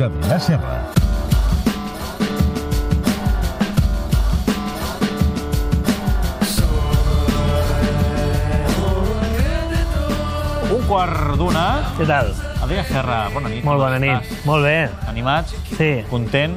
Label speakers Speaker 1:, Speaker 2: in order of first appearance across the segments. Speaker 1: de Vila-serra.
Speaker 2: Un quart d'una.
Speaker 3: Què tal?
Speaker 2: Adrià Serra, bona nit.
Speaker 3: Molt bona
Speaker 2: Com
Speaker 3: nit.
Speaker 2: estàs?
Speaker 3: Molt bé.
Speaker 2: Animats?
Speaker 3: Sí.
Speaker 2: Content?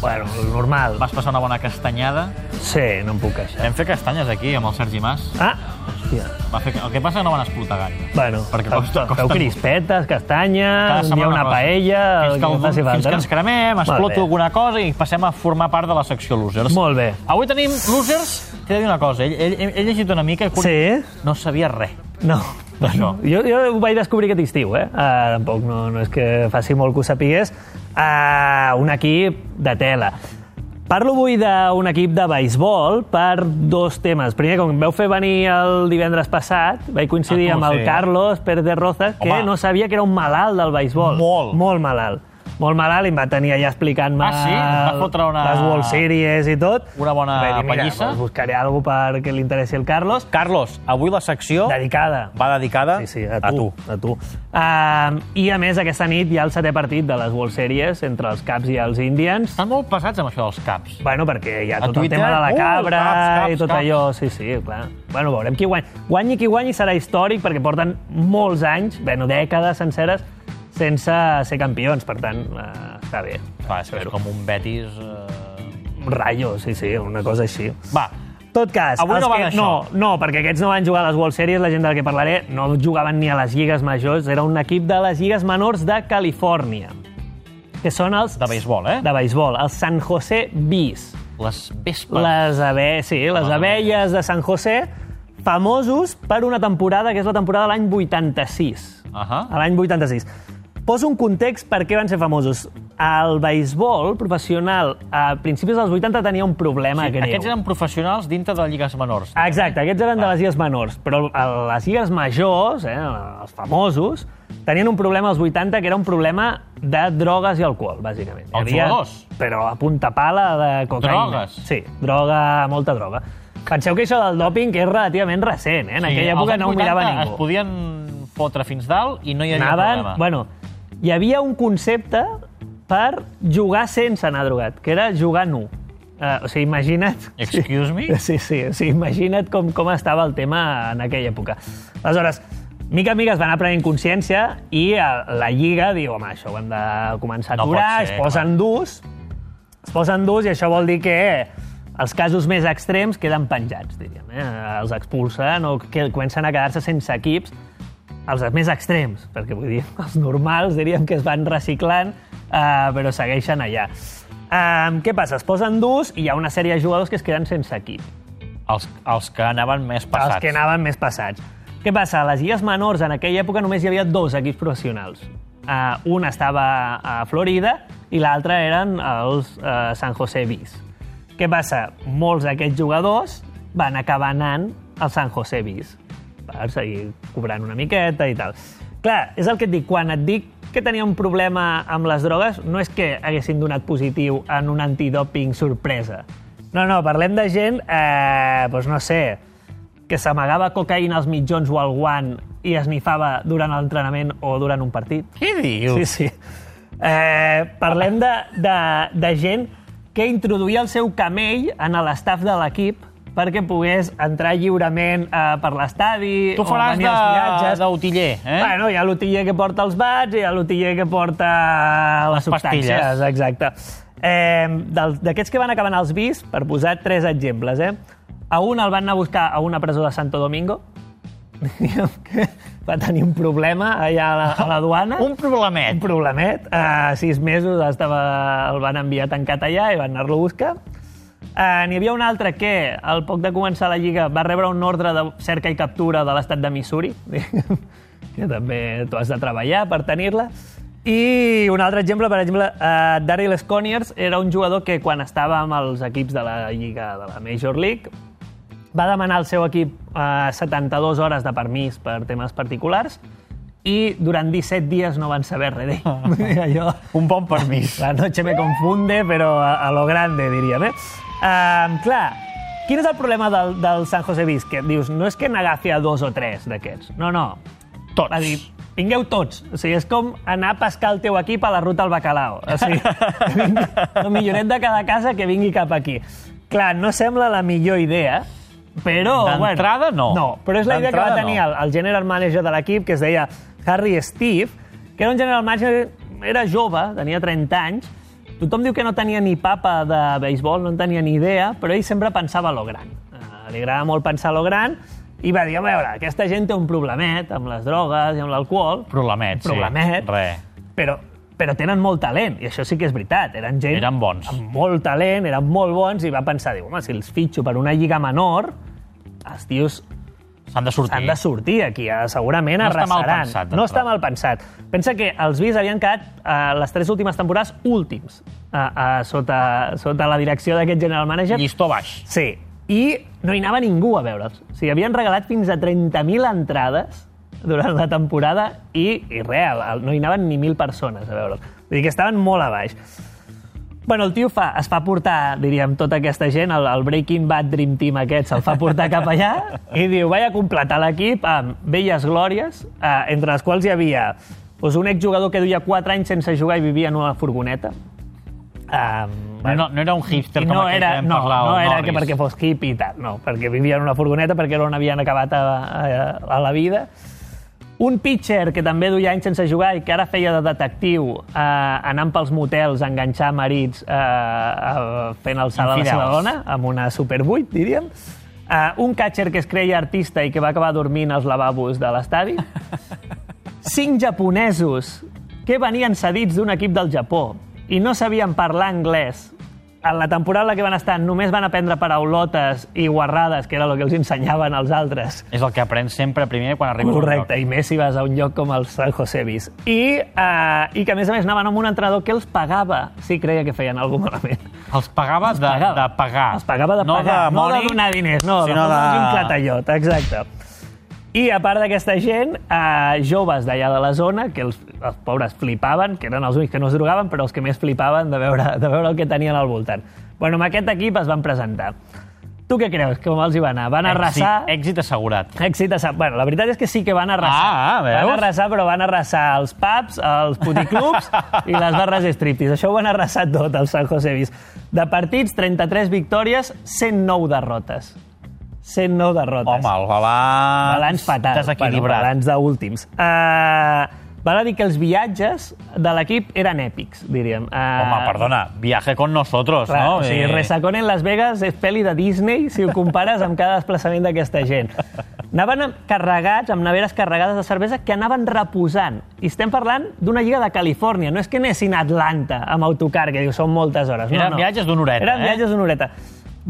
Speaker 3: Bueno, normal.
Speaker 2: Vas passar una bona castanyada?
Speaker 3: Sí, no em puc queixar.
Speaker 2: Vam fer castanyes aquí amb el Sergi Mas.
Speaker 3: Ah, hòstia.
Speaker 2: Va fer... El que passa que no van explotar gaire.
Speaker 3: Bueno,
Speaker 2: Perquè
Speaker 3: feu-
Speaker 2: costa- costa
Speaker 3: feu
Speaker 2: molt.
Speaker 3: crispetes, castanyes, Ah, hi ha una
Speaker 2: cosa.
Speaker 3: paella...
Speaker 2: Fins que,
Speaker 3: el
Speaker 2: el,
Speaker 3: faci
Speaker 2: fins
Speaker 3: falta,
Speaker 2: que
Speaker 3: no?
Speaker 2: ens cremem,
Speaker 3: Molt bé.
Speaker 2: exploto alguna cosa i passem a formar part de la secció Losers.
Speaker 3: Molt bé.
Speaker 2: Avui tenim Losers... T'he de dir una cosa, ell, ell, ell, he llegit una mica... i
Speaker 3: Sí?
Speaker 2: No sabia res.
Speaker 3: No.
Speaker 2: D'això.
Speaker 3: Jo, jo ho vaig descobrir aquest estiu, eh? Uh, tampoc no, no és que faci molt que ho sapigués. Uh, un equip de tela. Parlo avui d'un equip de beisbol per dos temes. Primer, com veu fer venir el divendres passat, vaig coincidir
Speaker 2: Ah, tu,
Speaker 3: amb el
Speaker 2: sí.
Speaker 3: Carlos Pérez de Rozas, que
Speaker 2: Home.
Speaker 3: no sabia que era un malalt del beisbol.
Speaker 2: Molt.
Speaker 3: Molt malalt. Molt malalt, i em va tenir allà explicant-me
Speaker 2: Ah, sí? Et va fotre una-
Speaker 3: les World Series i tot.
Speaker 2: Una bona
Speaker 3: Vaig dir, mira,
Speaker 2: pallissa?"
Speaker 3: doncs buscaré alguna cosa perquè li interessi el Carlos.
Speaker 2: Carlos, avui la secció
Speaker 3: Dedicada.
Speaker 2: va dedicada
Speaker 3: Sí, sí, a tu. A tu. Uh, I, a més, aquesta nit hi ha el setè partit de les World Series entre els Caps i els Indians.
Speaker 2: Estan molt pesats amb això dels caps.
Speaker 3: Bueno, perquè hi ha
Speaker 2: A
Speaker 3: tot
Speaker 2: Twitter,
Speaker 3: el tema de la
Speaker 2: uh,
Speaker 3: cabra
Speaker 2: caps, caps,
Speaker 3: i tot
Speaker 2: caps.
Speaker 3: allò. Sí, sí, clar. Bueno, veurem qui guany. Guanyi qui guanyi serà històric perquè porten molts anys, bueno, dècades senceres, sense ser campions. Per tant, uh, està bé.
Speaker 2: Va, és que és com un Betis... Eh...
Speaker 3: Un rayo, sí, sí, una cosa així.
Speaker 2: Va,
Speaker 3: tot cas,
Speaker 2: Avui
Speaker 3: els
Speaker 2: no va
Speaker 3: que,
Speaker 2: d'això.
Speaker 3: no, no, perquè aquests no van jugar a les World Series, la gent de la que parlaré no jugaven ni a les lligues majors, era un equip de les lligues menors de Califòrnia, que són els...
Speaker 2: de beisbol, eh?
Speaker 3: De beisbol, els San José Bees.
Speaker 2: Les vespes.
Speaker 3: Les, ave... sí, les
Speaker 2: Ah.
Speaker 3: abelles de San José, famosos per una temporada, que és la temporada de l'any 86
Speaker 2: Ahà.
Speaker 3: a l'any 86. Poso un context per què van ser famosos. El beisbol professional a principis dels 80 tenia un problema
Speaker 2: Sí,
Speaker 3: greu.
Speaker 2: Aquests eren professionals dintre de lligues menors.
Speaker 3: Ah, Exacte, aquests eren de les lligues menors, però a les lligues majors, eh, els famosos, tenien un problema als 80 que era un problema de drogues i alcohol, bàsicament. Hi
Speaker 2: Els jugadors?
Speaker 3: Però a punta pala de cocaïna.
Speaker 2: Drogues?
Speaker 3: Sí, droga, molta droga. Penseu que això del dòping és relativament recent, eh? En aquella època
Speaker 2: als
Speaker 3: no ho
Speaker 2: anys
Speaker 3: mirava
Speaker 2: 80
Speaker 3: ningú.
Speaker 2: Es podien fotre fins dalt i no hi havia
Speaker 3: Anaven...
Speaker 2: problema.
Speaker 3: Bueno, hi havia un concepte per jugar sense anar drogat, que era jugar nu. Uh, o sigui, imagina't...
Speaker 2: Excuse me?
Speaker 3: Sí, sí, sí imagina't com, com estava el tema en aquella època. Aleshores, mica en mica es van anar prenent consciència i eh, la Lliga diu, home, això ho hem de començar a
Speaker 2: No pot
Speaker 3: aturar,
Speaker 2: ser,
Speaker 3: es posen durs, es posen durs i això vol dir que els casos més extrems queden penjats, diríem. Eh? Els expulsen o que comencen a quedar-se sense equips, els més extrems, perquè vull dir, els normals diríem que es van reciclant, eh, però segueixen allà. Eh, què passa? Es posen durs i hi ha una sèrie de jugadors que es queden sense equip.
Speaker 2: Els, els que anaven més passats.
Speaker 3: Els que anaven més passats. Què passa? A les illes menors, en aquella època, només hi havia dos equips professionals. Uh, un estava a Florida i l'altre eren els uh, San José Bees. Què passa? Molts d'aquests jugadors van acabar anant als San José Bees per seguir cobrant una miqueta i tal. Clar, és el que et dic. Quan et dic que tenia un problema amb les drogues, no és que haguessin donat positiu en un antidoping sorpresa. No, no, parlem de gent, eh, doncs no sé, que s'amagava cocaïna als mitjons o al guant i esnifava durant l'entrenament o durant un partit.
Speaker 2: Què dius?
Speaker 3: Sí, sí. Eh, parlem de, de, de gent que introduïa el seu camell en l'estaf de l'equip perquè pogués entrar lliurement eh, per l'estadi
Speaker 2: Tu
Speaker 3: o
Speaker 2: faràs
Speaker 3: venir als
Speaker 2: de-
Speaker 3: viatges.
Speaker 2: d'utiller, eh?
Speaker 3: Bueno, hi ha l'utiller que porta els bats i hi ha l'utiller que porta les,
Speaker 2: Les pastilles.
Speaker 3: substàncies. Exacte. Eh, del- D'aquests que van acabar als bis, per posar tres exemples, eh? a un el van anar a buscar a una presó de Santo Domingo, diríem que va tenir un problema allà a la, a la duana.
Speaker 2: Un problemet.
Speaker 3: Un problemet. Uh, sis mesos estava, el van enviar tancat allà i van anar-lo a buscar. Uh, N'hi havia un altre que, al poc de començar la Lliga, va rebre un ordre de cerca i captura de l'estat de Missouri, que també tu has de treballar per tenir-la. I un altre exemple, per exemple, uh, Daryl Sconiers era un jugador que quan estava amb els equips de la Lliga de la Major League va demanar al seu equip eh, 72 hores de permís per temes particulars i durant 17 dies no van saber res d'ell. Vull dir, Allò,
Speaker 2: Un bon permís.
Speaker 3: la noche me confunde, però a, a lo grande, diríem. Eh? Um, clar, quin és el problema del, del San José Bis? Que dius, no és que n'agafi a dos o tres d'aquests. No, no.
Speaker 1: Tots.
Speaker 3: Va dir, vingueu tots. O sigui, és com anar a pescar el teu equip a la ruta al Bacalao. O sigui, que vingui, el milloret de cada casa que vingui cap aquí. Clar, no sembla la millor idea, però...
Speaker 1: D'entrada, no.
Speaker 3: No, però és la idea que va
Speaker 1: D'entrada,
Speaker 3: tenir
Speaker 1: no.
Speaker 3: el, el general manager de l'equip, que es deia Harry Steve, que era un general manager, era jove, tenia 30 anys, tothom diu que no tenia ni papa de béisbol, no en tenia ni idea, però ell sempre pensava a lo gran. Eh, li agrada molt pensar a lo gran, i va dir, a veure, aquesta gent té un problemet amb les drogues i amb l'alcohol,
Speaker 1: Problemet, sí.
Speaker 3: Problemet.
Speaker 1: Re.
Speaker 3: però, però tenen molt talent, i això sí que és veritat. Eren gent
Speaker 1: Eren bons.
Speaker 3: amb molt talent, eren molt bons, i va pensar, diu, home, si els fitxo per una lliga menor, els tios
Speaker 1: S'han de sortir.
Speaker 3: han de sortir aquí, eh? segurament
Speaker 1: No està mal
Speaker 3: arrasaran.
Speaker 1: pensat,
Speaker 3: no està
Speaker 1: d'entrada.
Speaker 3: mal pensat. Pensa que els Bis havien quedat eh, les tres últimes temporades últims eh, eh, sota, sota la direcció d'aquest general manager.
Speaker 1: Llistó baix.
Speaker 3: Sí, i no hi anava ningú a veure'ls. O sigui, havien regalat fins a 30.000 entrades durant la temporada i, i real, no hi anaven ni 1.000 persones a veure'ls. Vull dir que estaven molt a baix. Bueno, el tio fa, es fa portar, diríem, tota aquesta gent, el, el Breaking Bad Dream Team aquest, se'l fa portar cap allà i diu, vaig a completar l'equip amb velles glòries, eh, entre les quals hi havia doncs, un exjugador que duia 4 anys sense jugar i vivia en una furgoneta. Um,
Speaker 1: No, no, no era un hipster com
Speaker 3: no
Speaker 1: aquell
Speaker 3: era,
Speaker 1: que vam
Speaker 3: no,
Speaker 1: parlar,
Speaker 3: no
Speaker 1: el
Speaker 3: era
Speaker 1: Norris.
Speaker 3: que perquè fos hippie i tal, no, perquè vivia en una furgoneta perquè era on havien acabat a, a, a la vida. Un pitcher que també duia anys sense jugar i que ara feia de detectiu eh, anant pels motels a enganxar marits eh, eh, fent el salt a la
Speaker 1: Infidels.
Speaker 3: seva dona, amb una Super 8, diríem. Eh, un catcher que es creia artista i que va acabar dormint als lavabos de l'estadi cinc japonesos que venien cedits d'un equip del Japó i no sabien parlar anglès. En la temporada en la que van estar només van aprendre paraulotes i guarrades, que era el que els ensenyaven els altres.
Speaker 1: És el que aprens sempre primer quan arribes
Speaker 3: Correcte,
Speaker 1: a un lloc.
Speaker 3: i més si vas a un lloc com el San Josebis. I, eh, I que, a més a més, anaven amb un entrenador que els pagava si creia que feien alguna cosa malament.
Speaker 1: Els pagava, de,
Speaker 3: pagava.
Speaker 1: de pagar.
Speaker 3: Es pagava de
Speaker 1: no
Speaker 3: pagar,
Speaker 1: de
Speaker 3: no
Speaker 1: money,
Speaker 3: de donar diners, no,
Speaker 1: sinó
Speaker 3: de...
Speaker 1: de-
Speaker 3: un clatallot, exacte. I a part d'aquesta gent, eh, joves d'allà de la zona, que els, els pobres flipaven, que eren els únics que no es drogaven, però els que més flipaven de veure, de veure el que tenien al voltant. Bueno, amb aquest equip es van presentar. Tu què creus? Com els hi va anar? Van arrasar...
Speaker 1: Èxit, èxit assegurat.
Speaker 3: Èxit a Sant... Bueno, la veritat és que sí que van arrasar.
Speaker 1: Ah, ah, veus?
Speaker 3: Van arrasar, però van arrasar els pubs, els puticlubs i les barres striptease. Això ho van arrasar tot, els San Josevis. De partits, 33 victòries, 109 derrotes. 109 derrotes.
Speaker 1: Home, el balanç...
Speaker 3: Balanç fatal.
Speaker 1: Desequilibrat.
Speaker 3: Bueno, balanç d'últims. Uh, val a dir que els viatges de l'equip eren èpics, diríem. Uh,
Speaker 1: Home, perdona, viaje con nosotros,
Speaker 3: Clar,
Speaker 1: no?
Speaker 3: o sigui,
Speaker 1: Eh,
Speaker 3: Resacón en Las Vegas és pel·li de Disney si ho compares amb cada desplaçament d'aquesta gent. Anaven amb- carregats, amb neveres carregades de cervesa que anaven reposant. I estem parlant d'una lliga de Califòrnia. No és que anessin a Atlanta amb autocar, que diu, són moltes hores. No,
Speaker 1: Eren
Speaker 3: no.
Speaker 1: viatges d'una horeta,
Speaker 3: Eren
Speaker 1: eh?
Speaker 3: viatges d'una horeta.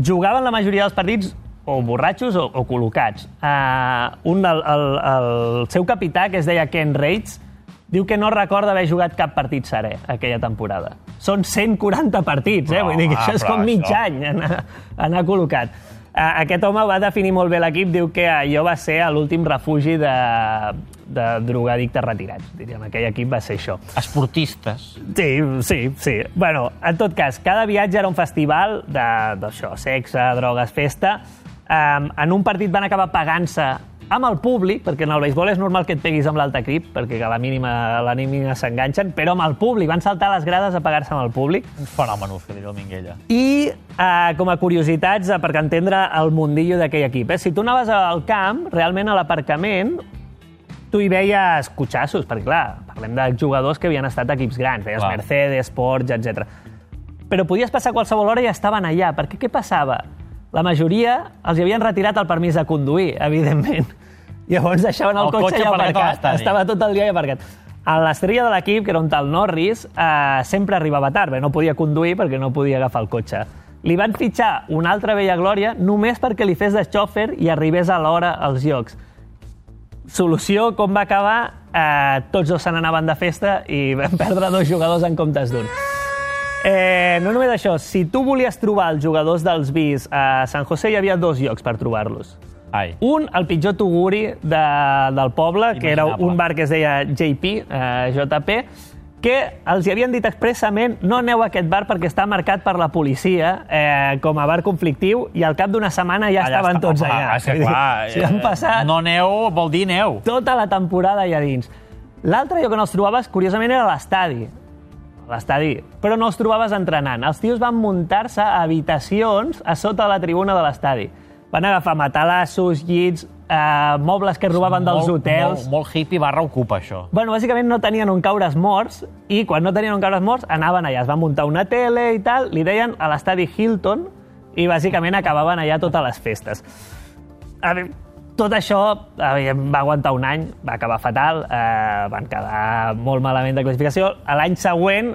Speaker 3: Jugaven la majoria dels partits o borratxos o, o col·locats. Uh, un, el, el, el seu capità, que es deia Ken Reitz, diu que no recorda haver jugat cap partit serè aquella temporada. Són 140 partits, eh?
Speaker 1: Però,
Speaker 3: Vull dir que
Speaker 1: home,
Speaker 3: això és
Speaker 1: però
Speaker 3: com mig
Speaker 1: això-
Speaker 3: any anar, anar col·locat. Uh, aquest home va definir molt bé l'equip, diu que allò va ser l'últim refugi de, de drogadictes retirats. Diríem, aquell equip va ser això.
Speaker 1: Esportistes.
Speaker 3: Sí, sí, sí. Bueno, en tot cas, cada viatge era un festival de- d'això, sexe, drogues, festa. Um, en un partit van acabar pagant-se amb el públic, perquè en el béisbol és normal que et peguis amb l'alta crip, perquè a la mínima, a la mínima s'enganxen, però amb el públic, van saltar a les grades a pagar-se amb el públic.
Speaker 1: Un fenomen, ho diria el Minguella.
Speaker 3: I eh, com a curiositats, eh, perquè entendre el mundillo d'aquell equip, eh? si tu anaves al camp, realment a l'aparcament, tu hi veies cotxassos, perquè clar, parlem de jugadors que havien estat a equips grans, veies
Speaker 1: Clar.
Speaker 3: Mercedes, Porsche, etc. Però podies passar a qualsevol hora i estaven allà, perquè què passava? La majoria els hi havien retirat el permís de conduir, evidentment. Llavors deixaven el,
Speaker 1: El
Speaker 3: cotxe,
Speaker 1: cotxe
Speaker 3: allà
Speaker 1: aparcat a
Speaker 3: aparcat,
Speaker 1: l'estadi.
Speaker 3: estava tot el dia allà aparcat. A l'estrella de l'equip, que era un tal Norris, eh, sempre arribava tard, bé, no podia conduir perquè no podia agafar el cotxe. Li van fitxar una altra vella glòria només perquè li fes de xòfer i arribés a l'hora als llocs. Solució, com va acabar? Eh, tots dos se n'anaven de festa i van perdre dos jugadors en comptes d'un. Eh, no només això, si tu volies trobar els jugadors dels bis a San José, hi havia dos llocs per trobar-los.
Speaker 1: Ai.
Speaker 3: Un, el pitjor tuguri de, del poble, que era
Speaker 1: Imaginable.
Speaker 3: un bar que es deia JP, eh, JP, que els hi havien dit expressament no aneu a aquest bar perquè està marcat per la policia eh, com a bar conflictiu i al cap d'una setmana ja
Speaker 1: Allà
Speaker 3: estaven
Speaker 1: Ah, està-
Speaker 3: tots
Speaker 1: home,
Speaker 3: allà.
Speaker 1: és que
Speaker 3: Vull dir,
Speaker 1: clar,
Speaker 3: s'hi han
Speaker 1: eh,
Speaker 3: passat
Speaker 1: No neu vol dir neu.
Speaker 3: tota la temporada allà dins. L'altre lloc on els trobaves, curiosament, era l'estadi. A L'estadi. Però no els trobaves entrenant. Els tios van muntar-se a habitacions a sota de la tribuna de l'estadi. Van agafar matalassos, llits, eh, mobles que robaven dels hotels...
Speaker 1: Molt, molt hippie barra ocupa, això.
Speaker 3: Bueno, bàsicament no tenien on caures morts i quan no tenien on caures morts anaven allà, es van muntar una tele i tal, li deien a l'estadi Hilton i bàsicament acabaven allà totes les festes. A veure, tot això a veure, va aguantar un any, va acabar fatal, eh, van quedar molt malament de classificació. A L'any següent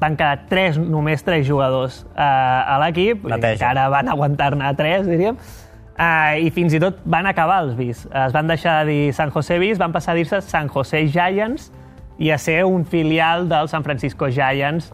Speaker 3: van quedar tres, només tres jugadors eh, a l'equip, i
Speaker 1: Neteja.
Speaker 3: encara van aguantar-ne tres, diríem, eh, i fins i tot van acabar els bis. Es van deixar de dir San José Bis, van passar a dir-se San José Giants i a ser un filial del San Francisco Giants,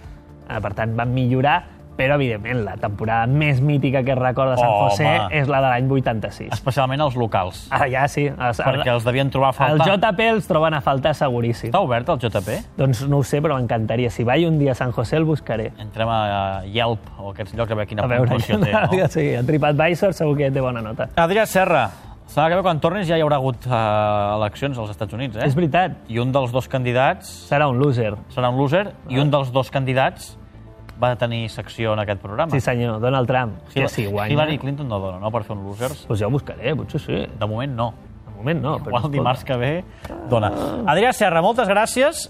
Speaker 3: eh, per tant van millorar, però evidentment la temporada més mítica que es recorda San
Speaker 1: Home.
Speaker 3: José és la de l'any 86.
Speaker 1: Especialment els locals.
Speaker 3: Ara ja sí. Es,
Speaker 1: perquè els devien trobar a
Speaker 3: Ah, el
Speaker 1: faltar.
Speaker 3: JP els troben a faltar seguríssim.
Speaker 1: Està obert el JP?
Speaker 3: Doncs no ho sé, però m'encantaria. Si vaig un dia a Sant José el buscaré.
Speaker 1: Entrem a Yelp o aquests llocs a veure quina
Speaker 3: A veure,
Speaker 1: puntuació té. No?
Speaker 3: sí, a TripAdvisor segur que té bona nota.
Speaker 1: Adrià Serra, serà que bé quan tornis ja hi haurà hagut eh, eleccions als Estats Units, eh?
Speaker 3: És veritat,
Speaker 1: I un dels dos candidats
Speaker 3: serà un loser.
Speaker 1: serà un loser i un dels dos candidats va tenir secció en aquest programa.
Speaker 3: Sí senyor, Donald Trump. Que si guanya...
Speaker 1: Hillary Clinton no dona, no?, per fer un losers.
Speaker 3: Pues ja ho buscaré, potser sí.
Speaker 1: De moment no.
Speaker 3: De moment no. Però
Speaker 1: Igual dimarts que ve dona. Adrià Serra, moltes gràcies.